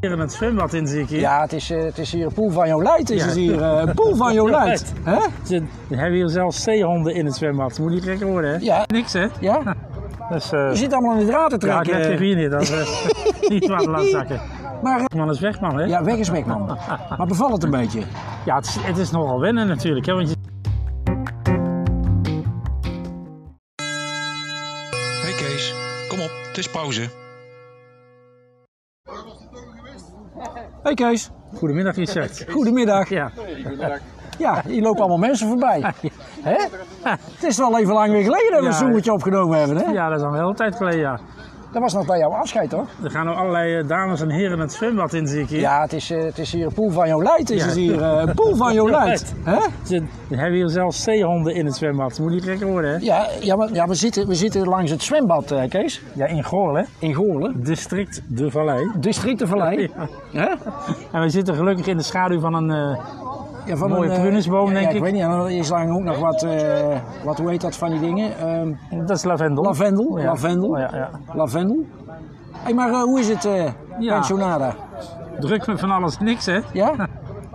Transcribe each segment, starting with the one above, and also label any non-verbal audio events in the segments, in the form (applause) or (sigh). Hier in het zwembad in zie ik hier. Ja, het is, eh, het is hier een poel van jouw leid. Is Ja. het hier eh, een poel (laughs) van jouw leid. Hè? Ze we hebben hier zelfs zeehonden in het zwembad. Moet niet gek worden, hè? Ja. Niks, hè? Ja? Dus, eh Je zit allemaal in de draad te ja, ik trekken. heb geen bier niet. Dat is eh, (laughs) niet waar te laten zakken. maar, eh, Man is weg, man, hè? ja, weg is weg, man. Maar bevalt het een beetje? Ja, het, is, het is nogal wennen natuurlijk, hè? Want je... Hey Kees, kom op, het is pauze. hey Kees, Goedemiddag, Richard. (laughs) goedemiddag. Ja. Ja, hier lopen allemaal mensen (laughs) voorbij. Hè? Het is wel even lang weer geleden dat we Ja. een zoemetje opgenomen hebben. Hè? ja, dat is al een hele tijd geleden, ja. Dat was nog bij jouw afscheid, hoor. Er gaan nu allerlei eh, dames en heren het zwembad in, zie ik hier. Ja, het is, eh, het is hier een poel van jouw leid. Is Ja. het hier eh, een poel (laughs) van jouw leid. Hè? Ze we hebben hier zelfs zeehonden in het zwembad. Moet niet gek worden, hè? Ja, ja, maar, ja we, zitten, we zitten langs het zwembad, eh, Kees. Ja, in Goorl, hè? In Goorlen. District de Vallei. Districtenvallei. Ja. Hè? En we zitten gelukkig in de schaduw van een... eh, Ja, van Mooie eh, prunusboom, ja, ja, denk ik. ik. weet niet, en dan is lang ook nog wat, eh, wat, hoe heet dat van die dingen? Ehm, Dat is lavendel. lavendel, Oh, Ja. lavendel, Ja, ja. lavendel. hey, maar eh, hoe is het eh Ja. pensionada? Druk me van alles niks, hè? Ja?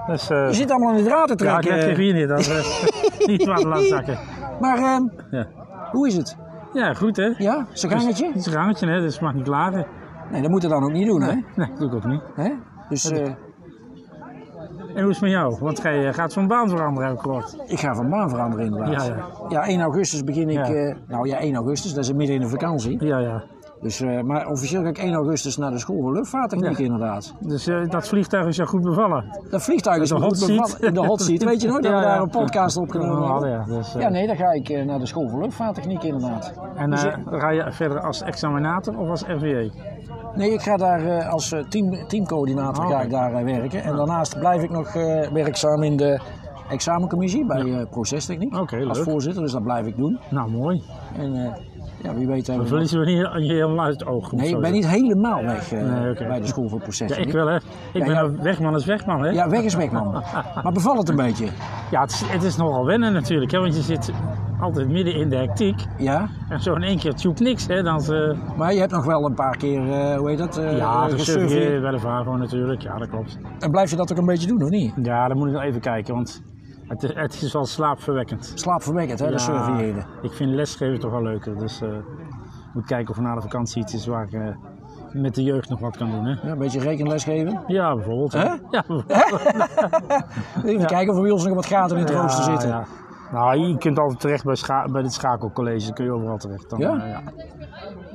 Dus, eh, Je zit allemaal in de draad te ja, ik trekken. heb geen bier niet. Dat is eh, (laughs) niet waar te laten zakken. Maar ehm, Ja. Dus- hoe is het? ja, goed, hè? Ja, zijn gangetje? Het is een gangetje, hè? Dus mag niet klagen. Nee, dat moet je dan ook niet doen, hè? Nee, doe ik ook niet. Hè? Dus eh, En hoe is het met jou? Want jij eh, gaat zo'n baan veranderen, heb ik gehoord. ik ga van baan veranderen inderdaad. Ja, ja. 1 augustus begin ik... Ja. eh, nou ja, 1 augustus, dat is midden in de vakantie. Ja, ja. Dus, eh, maar officieel ga ik 1 augustus naar de school voor luchtvaarttechniek Ja. inderdaad. Dus eh, dat vliegtuig is jou goed bevallen. Dat vliegtuig is Dat is een goed hot seat. bevallen. In de hot seat. Weet je nog (laughs) dat Ja, we ja. daar een podcast opgenomen hadden? Ja, dus, eh, Ja, nee, dan ga ik eh, naar de school voor luchtvaarttechniek inderdaad. En Dus, eh, eh, ga je verder als examinator of als E? RVE? nee, ik ga daar eh, als eh, team, teamcoördinator Ah, ga oké. ik daar eh, werken. En daarnaast blijf ik nog eh, werkzaam in de examencommissie bij eh, procestechniek. Oké, als leuk. voorzitter, dus dat blijf ik doen. Nou, mooi. En eh, ja, wie weet Dan hebben we... verliezen we niet je helemaal uit het oog. om Nee, zo ik ben te- niet helemaal weg eh, Nee, oké. bij de school voor Ja, ik procestechniek. wel, hè? Ik ben ja. een wegman is wegman, hè? Ja, weg is weg, man. Maar bevalt het een beetje? Ja, het is, het is nogal wennen natuurlijk, hè, want je zit altijd midden in de hectiek. Ja? En zo in één keer tjoep niks, hè, dan... eh Maar je hebt nog wel een paar keer, eh, hoe heet dat? eh, ja, dan surf gesurfeerd. je bij de Vavo natuurlijk, ja, dat klopt. En blijf je dat ook een beetje doen, of niet? Ja, dan moet ik nog even kijken, want het, is- het is wel slaapverwekkend. Slaapverwekkend, hè, Ja, dat surveilleren. Ik vind lesgeven toch wel leuker, dus eh moet kijken of er na de vakantie iets is waar ik eh, met de jeugd nog wat kan doen, hè. Ja, een beetje rekenles geven. Ja, bijvoorbeeld. hè. Hè? Ja, bijvoorbeeld. Even kijken of er bij ons nog wat gaten in het rooster Ja, zitten. ja. Nou, je kunt altijd terecht bij, scha- bij dit schakelcollege, dan kun je overal terecht. Dan, Ja? eh, ja.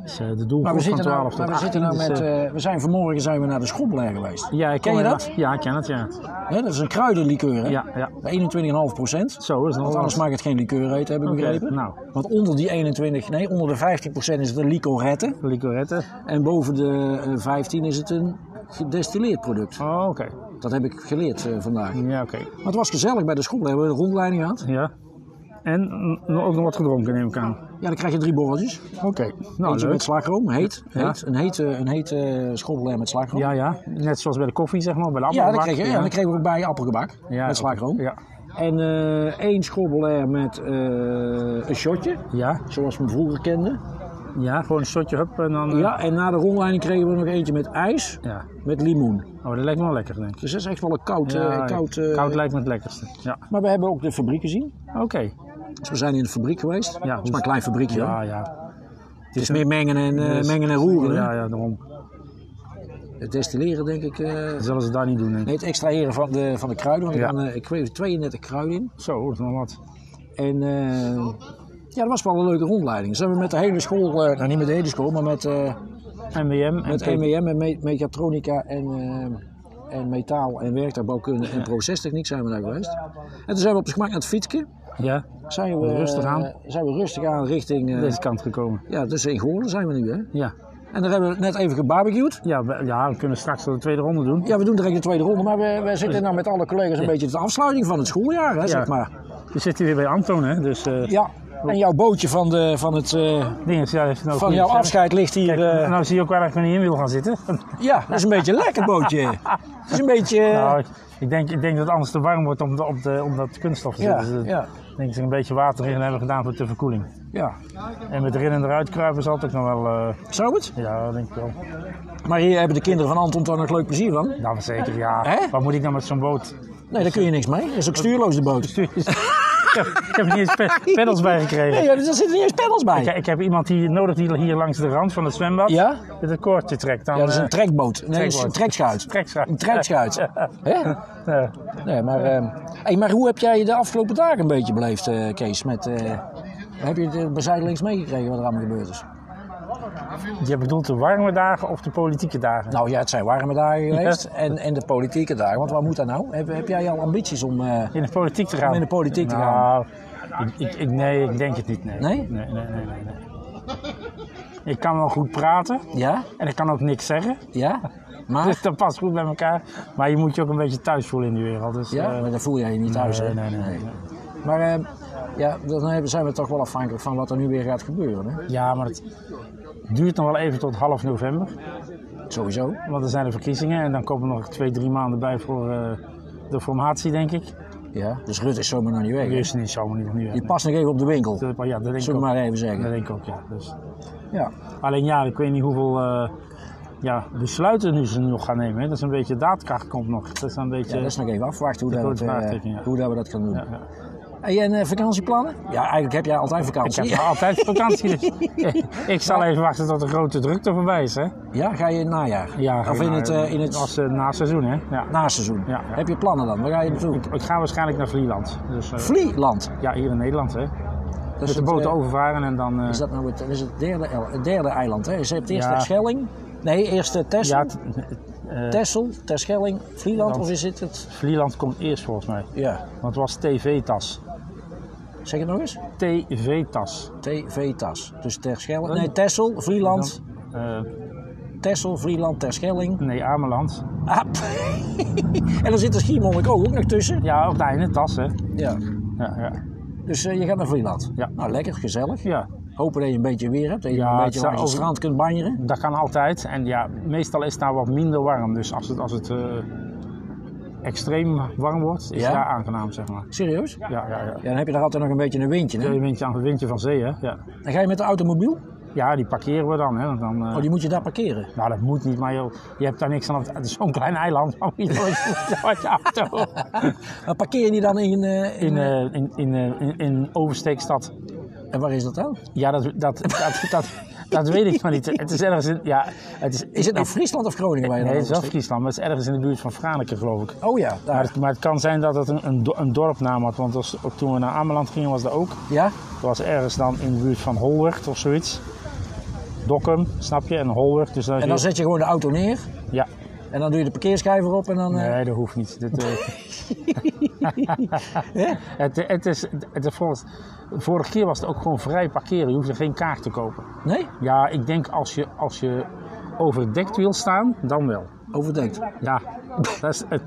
Dus, eh, de doelgroep Maar we van zitten 12 nou, tot maar we, 18 zitten nou is, met, eh, eh, we zijn vanmorgen zijn we naar de schoolblair geweest. Ja, ik Ken je wel- dat? Ja, ik ken het, ja. Hè, dat is een kruidenlikeur, hè? Ja, ja. 21,5 procent. Zo, dat is nog Want wel anders wat. mag het geen likeur heten, heb ik Oké, begrepen. nou. Want onder die 21, nee, onder de 15 procent is het een licorette. Licorette. En boven de eh, 15 is het een gedestilleerd product. Oh, oké. Dat heb ik geleerd eh, vandaag. Maar Ja, oké. het was gezellig bij de school. Hebben we een rondleiding gehad? Ja. En mm, ook nog wat gedronken, neem ik aan. Ja, dan krijg je drie borreltjes. Oké. Nou, Eentje met leuk. slagroom, heet. Ja. heet Een hete, een hete eh, schobbelaar met slagroom. Ja, ja. Net zoals bij de koffie, zeg maar. Bij de Ja, dat appelbak. kreeg, je- ja. dat kregen we ook bij appelgebak Ja, met slagroom. oké. Ja. En eh, één schobbelaar met eh, een shotje, Ja, zoals men vroeger kende. ja, gewoon een shotje, hup, en dan... eh, Ja, en na de rondleiding kregen we nog eentje met ijs, ja. met limoen. Oh, dat lijkt me wel lekker, denk ik. Dus dat is echt wel een koud... eh, ja, koud, eh, koud lijkt me het lekkerste. Ja, Maar we hebben ook de fabriek gezien. oké. Dus we zijn in de fabriek geweest. Ja, het is maar een klein fabriekje. hoor. Ja, ja. Het is meer mengen en, eh, Dus- mengen en roeren. hè. Ja, ja, daarom. Het destilleren denk ik... eh, Dat zullen ze daar niet doen, denk ik. Nee, het extraheren van de, van de kruiden. Want er Ja. gaan, eh, ik kreeg 32 kruiden in. Zo, dat is nog wat. En eh, ja, dat was wel een leuke rondleiding. Zijn we met de hele school, eh, nou niet met de hele school, maar met, eh MWM en met P- MEM en me- mechatronica en, eh, en metaal en werktuigbouwkunde en procestechniek zijn we daar geweest. En toen zijn we op de gemak naar het fietske. Ja, Zijn we, eh, Rustig aan. zijn we rustig aan richting, eh, deze kant gekomen. ja, dus in Goorlen zijn we nu hè. Ja. En daar hebben we net even gebarbecued. Ja, we, ja, we kunnen straks wel de tweede ronde doen. Ja, we doen direct de tweede ronde, maar we, we zitten nou met alle collega's een beetje de afsluiting van het schooljaar, hè, zeg maar. We zitten weer bij Anton, hè? Dus eh, Ja, En jouw bootje van, de, van, het, eh, Ding is, ja, heeft nou van goed jouw gezegd. afscheid ligt hier. Kijk, eh, nou zie je ook waar ik me niet in wil gaan (laughs) zitten. ja, dat is een beetje een lekker bootje. Dat is een beetje. eh, Nou, ik, ik denk, ik denk dat het anders te warm wordt om, de, om, de, om dat kunststof te ja, zetten. Dus, eh, ja, Ik denk dat ze er een beetje water in hebben gedaan voor de verkoeling. ja. En met erin en eruit kruipen zal het ook nog wel... eh, Zou het? ja, dat denk ik wel. Maar hier hebben de kinderen van Anton daar nog leuk plezier van. Nou, maar zeker, ja. Hè? Wat moet ik nou met zo'n boot? Nee, daar kun je niks mee. Dat is ook stuurloos de boot. ik, heb, (laughs) ik heb er niet eens (laughs) pe- peddels bij gekregen. Nee, dus daar zitten niet eens pedals bij. Ik, ik heb iemand hier nodig die hier langs de rand van het zwembad Ja? met een koordje trekt. Dan, Ja, dat is eh, een trekboot. Nee, dat is een trekboot. trekschuit. trekschuit. Een trekschuit. Ja. Hè? Ja. Nee, maar, ehm, hey, maar hoe heb jij de afgelopen dagen een beetje beleefd, eh, Kees? Met, eh, heb je het bezijdelings meegekregen wat er allemaal gebeurd is? Je bedoelt de warme dagen of de politieke dagen? Nou ja, het zijn warme dagen geweest en, en de politieke dagen. Want waar moet dat nou? Heb, heb jij al ambities om... eh, in de politiek te gaan? Om in de politiek te Nou, ik, ik, ik- nee, ik denk het niet. Nee? Nee? Nee, nee, nee, nee, nee. Ik kan wel goed praten ja? en ik kan ook niks zeggen. Ja? Dus (laughs) Maar? dat past goed bij elkaar. Maar je moet je ook een beetje thuis voelen in die wereld. Dus, Ja? eh, Maar dan voel jij je niet thuis, hè? nee, nee, nee, nee. Maar ehm, ja, dan hebben- zijn we toch wel afhankelijk van wat er nu weer gaat gebeuren, hè? Ja, maar het duurt nog wel even tot half november. Sowieso. Want er zijn de verkiezingen en dan komen er nog twee, drie maanden bij voor eh, de formatie, denk ik. Ja. Dus Rutte is zomaar nog niet weg. hè? Die is er niet zomaar niet, nog niet. Die past nog even op de winkel. Zullen Ja, dat denk ik we ook. maar even Dat zeggen. denk ik ook, ja. Dus. Ja. Alleen ja, ik weet niet hoeveel eh, ja, besluiten nu ze nog gaan nemen. Hè. Dat is een beetje daadkracht komt nog. Dat is een beetje... Ja, dat is nog even afwachten hoe, De dat, we grote het, eh, vraagteken, ja. hoe dat we dat gaan doen. Ja, ja. Hey, en eh, vakantieplannen? Ja, eigenlijk heb jij altijd Ik vakantie. heb altijd (laughs) vakantie, dus ik zal even wachten tot de grote drukte voorbij is. Hè? Ja, ga je in het najaar? Ja, of in nou, het, eh, in het Als eh, na het seizoen, hè. Ja. naseizoen? Ja, ja. Heb je plannen dan? Waar ga je naartoe? Ik ga waarschijnlijk naar Vlieland. Dus, eh, Vlieland. ja, hier in Nederland, hè. Dat Dus de het, boot eh, overvaren en dan... eh, Is dat nou het, is het, derde, el- het derde eiland? Hè? Dus je hebt eerst Ja. de Schelling. Nee, eerst de Texel. ja, het- eh, Texel, Terschelling, Vlieland Dan- of is dit het? Vlieland komt eerst volgens mij. Ja, Want het was TV-tas. zeg het nog eens. TV-tas. TV-tas. Dus Terschelling. Nee, Texel, Vlieland. Eh, Texel, Vlieland, Terschelling. nee, Ameland. Ap. (laughs) en dan zit de Schiermonnik ook nog tussen. Ja, op het einde, tas hè. Ja. Ja, ja. Dus eh, je gaat naar Vlieland. Ja. Nou, lekker, gezellig. ja, Hopen dat je een beetje weer hebt. Dat je Ja, een het beetje zou langs het over- strand kunt banjeren. dat kan altijd. En ja, meestal is het daar wat minder warm. Dus als het, als het eh, extreem warm wordt, is Ja? het daar aangenaam, zeg maar. Serieus? Ja, ja, ja. Ja, dan heb je daar altijd nog een beetje een windje. Ja, Hè? je windje aan het windje van zee, hè? Ja, Dan ga je met de automobiel. ja die parkeren we dan, hè? want dan eh, Oh, die moet je daar parkeren. Nou, dat moet niet, maar joh, je hebt daar niks aan. Het is zo'n klein eiland. (laughs) maar je moet met je auto. Maar parkeer je die dan in... eh, In, eh, in, in, eh, in, in Oversteekstad En waar is dat dan? Ja, dat, dat, dat, dat, dat weet ik maar niet. Het is ergens in. Ja, het is, Is het nou Friesland of Groningen waar je Nee, dan het is wel over steekt? Friesland, maar het is ergens in de buurt van Franeker, geloof ik. Oh ja, Maar daar. het, maar het kan zijn dat het een, een, do- een dorpnaam had, want als, ook toen we naar Ameland gingen was dat ook. Ja? Dat was ergens dan in de buurt van Holwert of zoiets. Dokkum, snap je? En Holwert. Dus dan En dan zet je gewoon de auto neer. Ja, En dan doe je de parkeerschijver op en dan... eh, nee, dat hoeft niet. Dit, (laughs) eh, (laughs) het, het is, het is volgens, vorige keer was het ook gewoon vrij parkeren. Je hoefde geen kaart te kopen. eh, Nee? Ja, ik denk als je, als je overdekt wil staan, dan wel. Overdenkt. Ja, dat is het.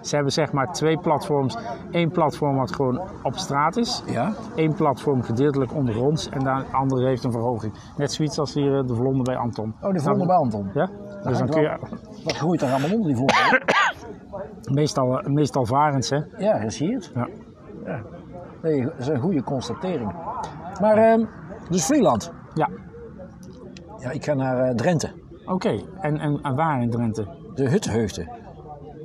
ze hebben zeg maar twee platforms. Eén platform wat gewoon op straat is. Ja? Eén platform gedeeltelijk ondergronds en dan de andere heeft een verhoging. Net zoiets als hier eh, de Vlonder bij Anton. Oh, de volgende bij Anton. Ja? Dus dan kun je Wat groeit er allemaal onder die volgende? meestal, eh, meestal varens, hè? Ja, dat zie je het. Ja. Ja. Nee, dat is een goede constatering. Maar, ehm, dus Vlieland. Ja. Ja, ik ga naar eh, Drenthe. Oké, en, en, en waar in Drenthe? De Huttenheugden.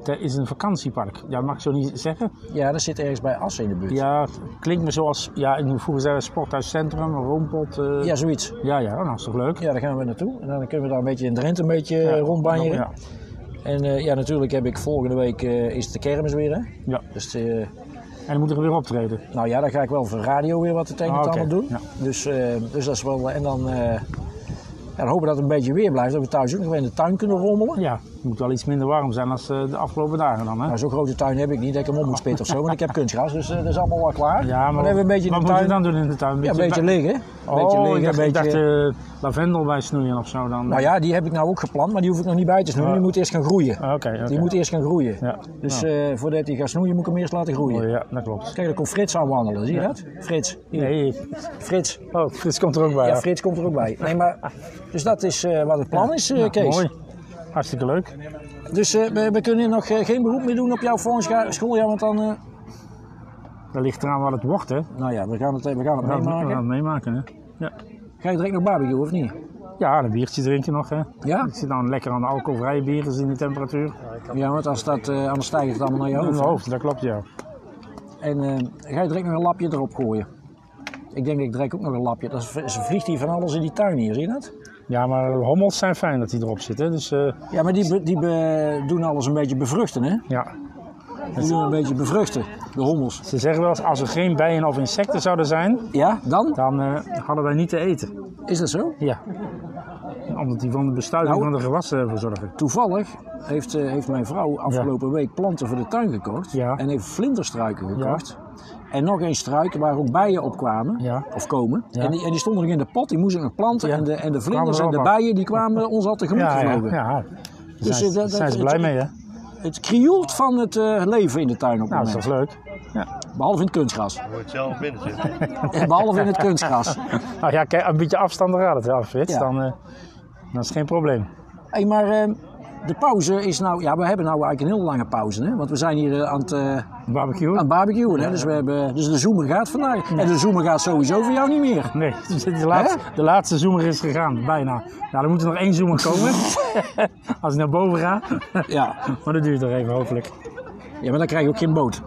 Er is een vakantiepark. Ja, mag ik zo niet zeggen. Ja, dat zit ergens bij Assen in de buurt. Ja, klinkt me zoals. Ja, ik moet vroeger zeggen sporthuiscentrum, Roompot. eh, Ja, zoiets. ja, ja, nou, is toch leuk? Ja, daar gaan we naartoe. En dan kunnen we daar een beetje in Drenthe een beetje eh, Ja. rondbanjeren. Ja. En eh, ja, natuurlijk heb ik volgende week eh, is het de kermis weer. Hè? Ja. Dus eh, En dan moet er weer optreden. nou ja, dan ga ik wel voor radio weer wat het een en Ah, het oké. ander doen. Ja. Dus, eh, dus dat is wel. En dan, eh, ja, dan hopen we dat het een beetje weer blijft. Dat we thuis ook nog in de tuin kunnen rommelen. Ja, Het moet wel iets minder warm zijn als eh, de afgelopen dagen dan, hè? Nou, zo'n grote tuin heb ik niet, dat ik hem op moet spitten of zo, want ik heb kunstgras, dus eh, dat is allemaal wel klaar. Ja, maar dan hebben we een beetje wat de moet tuin. je dan doen in de tuin? ja, een beetje liggen. Een beetje Oh, ik liggen, dacht, een ik dacht beetje... eh, lavendel bij snoeien of zo dan. Nou ja, die heb ik nou ook geplant, maar die hoef ik nog niet bij te snoeien. Die moet eerst gaan groeien. Ah, Oké, oké. Die moet eerst gaan groeien. Ja. Dus Ja. eh, voordat hij gaat snoeien, moet ik hem eerst laten groeien. Oh, Ja, dat klopt. Kijk, daar komt Frits aan wandelen, zie je dat? Frits. Hier. Nee, Frits. oh, Frits komt er ook bij. Ja, hè? Frits komt er ook bij. Nee, maar, dus dat is eh, wat het plan is, eh, Ja, Kees. Nou, Mooi. Hartstikke leuk. Dus eh, we, we kunnen nog eh, geen beroep meer doen op jouw volgend scha- schooljaar, want dan... eh, Dat ligt eraan wat het wordt, hè. We nou ja, we gaan het, we gaan het gaan het- we gaan meemaken. het meemaken, hè. Ja. Ga je direct nog barbecue, of niet? Ja, een biertje drinken nog, hè. Ja? Ik zit nou lekker aan de alcoholvrije bieren in de temperatuur. Ja, want als dat, eh, anders stijgt het allemaal naar je In hoofd. mijn hoofd, dat klopt, ja. En eh, ga je direct nog een lapje erop gooien. Ik denk dat ik direct ook nog een lapje... Dat is, is- vliegt hier van alles in die tuin hier, zie je dat? Ja, maar hommels zijn fijn dat die erop zitten, dus eh, Ja, maar die, be- die be- doen alles een beetje bevruchten, hè? ja. Die doen een beetje bevruchten, de hommels. Ze zeggen wel eens, als er geen bijen of insecten zouden zijn, Ja, dan? dan eh, hadden wij niet te eten. Is dat zo? Ja. Omdat die van de bestuiving Nou. van de gewassen verzorgen. Toevallig heeft, eh, heeft mijn vrouw afgelopen week planten voor de tuin gekocht. Ja. En heeft vlinderstruiken gekocht. En nog eens struiken waar ook bijen op kwamen. Ja. Of komen. Ja. En, die, en die stonden nog in de pot, die moesten nog planten. Ja. En, de, en de Kwamen vlinders er en de ook af. bijen die (laughs) kwamen ons al tegemoet ja. gevlogen. ja. Daar Dus, zijn, eh, dat- zijn ze dat- blij mee, hè? Het krioelt van het eh, leven in de tuin op het Nou, dat moment. is toch leuk? Ja. Behalve in het kunstgras. (laughs) Wordt zelf binnen zitten. Behalve in het (laughs) kunstgras. Nou ja, kijk, een beetje afstand dan gaat het wel, Frits. Ja. Dan, eh, dan is het geen probleem. Hey, maar eh, de pauze is nou... Ja, we hebben nou eigenlijk een heel lange pauze. Hè? Want we zijn hier eh, aan het... eh, Barbecue? aan barbecuen, hè? Dus, we hebben, dus de zoomer gaat vandaag. En de zoomer gaat sowieso voor jou niet meer. Nee, (laughs) de laatste, de laatste zoomer is gegaan, bijna. Nou, er moet er nog één zoomer (laughs) komen. Als ik naar boven ga. Ja. (laughs) Maar dat duurt nog even, hopelijk. Ja, maar dan krijg je ook geen boot.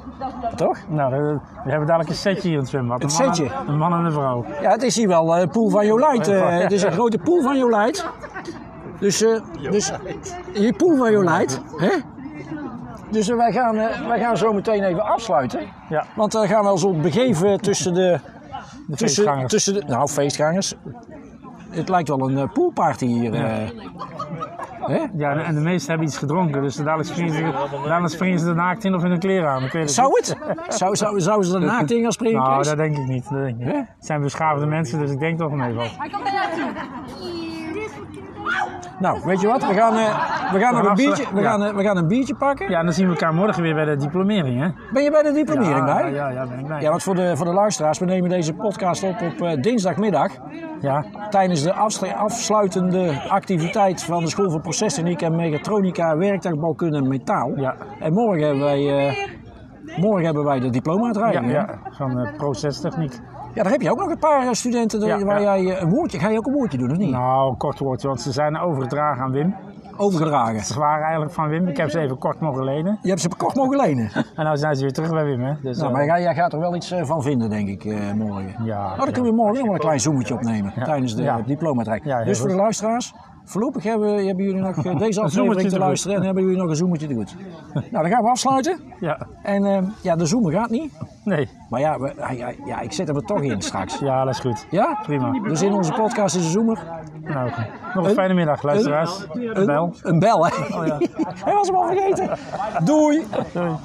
Toch? Nou, eh, we hebben dadelijk een setje hier in het zwembad. Het een man setje? en- een man en een vrouw. Ja, het is hier wel eh, een pool van Jolijt. eh het is een grote pool van Jolijt. Dus, eh dus je pool van Jolijt. Hè? Dus eh, wij, gaan, eh, wij gaan zo meteen even afsluiten. Ja. Want dan gaan we ons op begeven tussen de... De Tussen, feestgangers. tussen de nou, feestgangers. Het lijkt wel een eh, poolparty hier. eh. Hè? Ja, en- en de meesten hebben iets gedronken, dus dadelijk springen ze, dadelijk springen ze er naakt in of in hun kleren aan. Ik weet het Zou niet. het? Zou, zou, zou ze er (laughs) naakt in gaan springen? Nou, Kees? dat denk ik niet. Dat denk ik niet. Hè? Het zijn beschaafde mensen, dus ik denk toch mee wat. Hij komt eruit. Au! Nou, weet je wat? We gaan, eh, we gaan nog een biertje, we Ja. gaan, eh, we gaan een biertje pakken. Ja, en dan zien we elkaar morgen weer bij de diplomering, hè? Ben je bij de diplomering ja, bij? ja, ja, ben ik bij. Ja, want voor de, voor de luisteraars, we nemen deze podcast op op eh, dinsdagmiddag. Ja. Tijdens de afstra- afsluitende activiteit van de School voor Procestechniek en Mechatronica, Werktuigbouwkunde en Metaal. Ja. En morgen hebben wij, eh, morgen hebben wij de Ja, diploma-uitreiking. hè? ja, van eh, procestechniek. Ja, daar heb je ook nog een paar eh, studenten daar- Ja, waar ja. jij eh, een woordje... Ga je ook een woordje doen, of niet? Nou, een kort woordje, want ze zijn overgedragen aan Wim. Overgedragen. Ze waren eigenlijk van Wim. Ik heb ze even kort mogen lenen. Je hebt ze kort mogen lenen. En nou zijn ze weer terug bij Wim, hè? Dus, Nou, eh, maar jij, jij gaat er wel iets eh, van vinden, denk ik, eh, morgen. Ja, nou, dan ja. kunnen we morgen nog wel een klein zoometje opnemen Ja. tijdens de Ja. eh, diploma-trek. Ja, heel dus voor de goed. luisteraars, voorlopig hebben, hebben jullie (laughs) nog eh, deze zoometje aflevering te te goed. luisteren en hebben jullie nog een zoometje (laughs) te goed. nou, dan gaan we afsluiten. Ja, En eh, ja, de zoomen gaat niet. nee. Maar ja, we- hij- hij- ja, ik zet hem er toch in straks. Ja, dat is goed. Ja? Prima. Dus in onze podcast is een zoomer. Nou, nog een fijne middag, luisteraars. Een, Bel. Oh, (laughs) een bel, hè? Hij was hem al vergeten. Doei! Doei.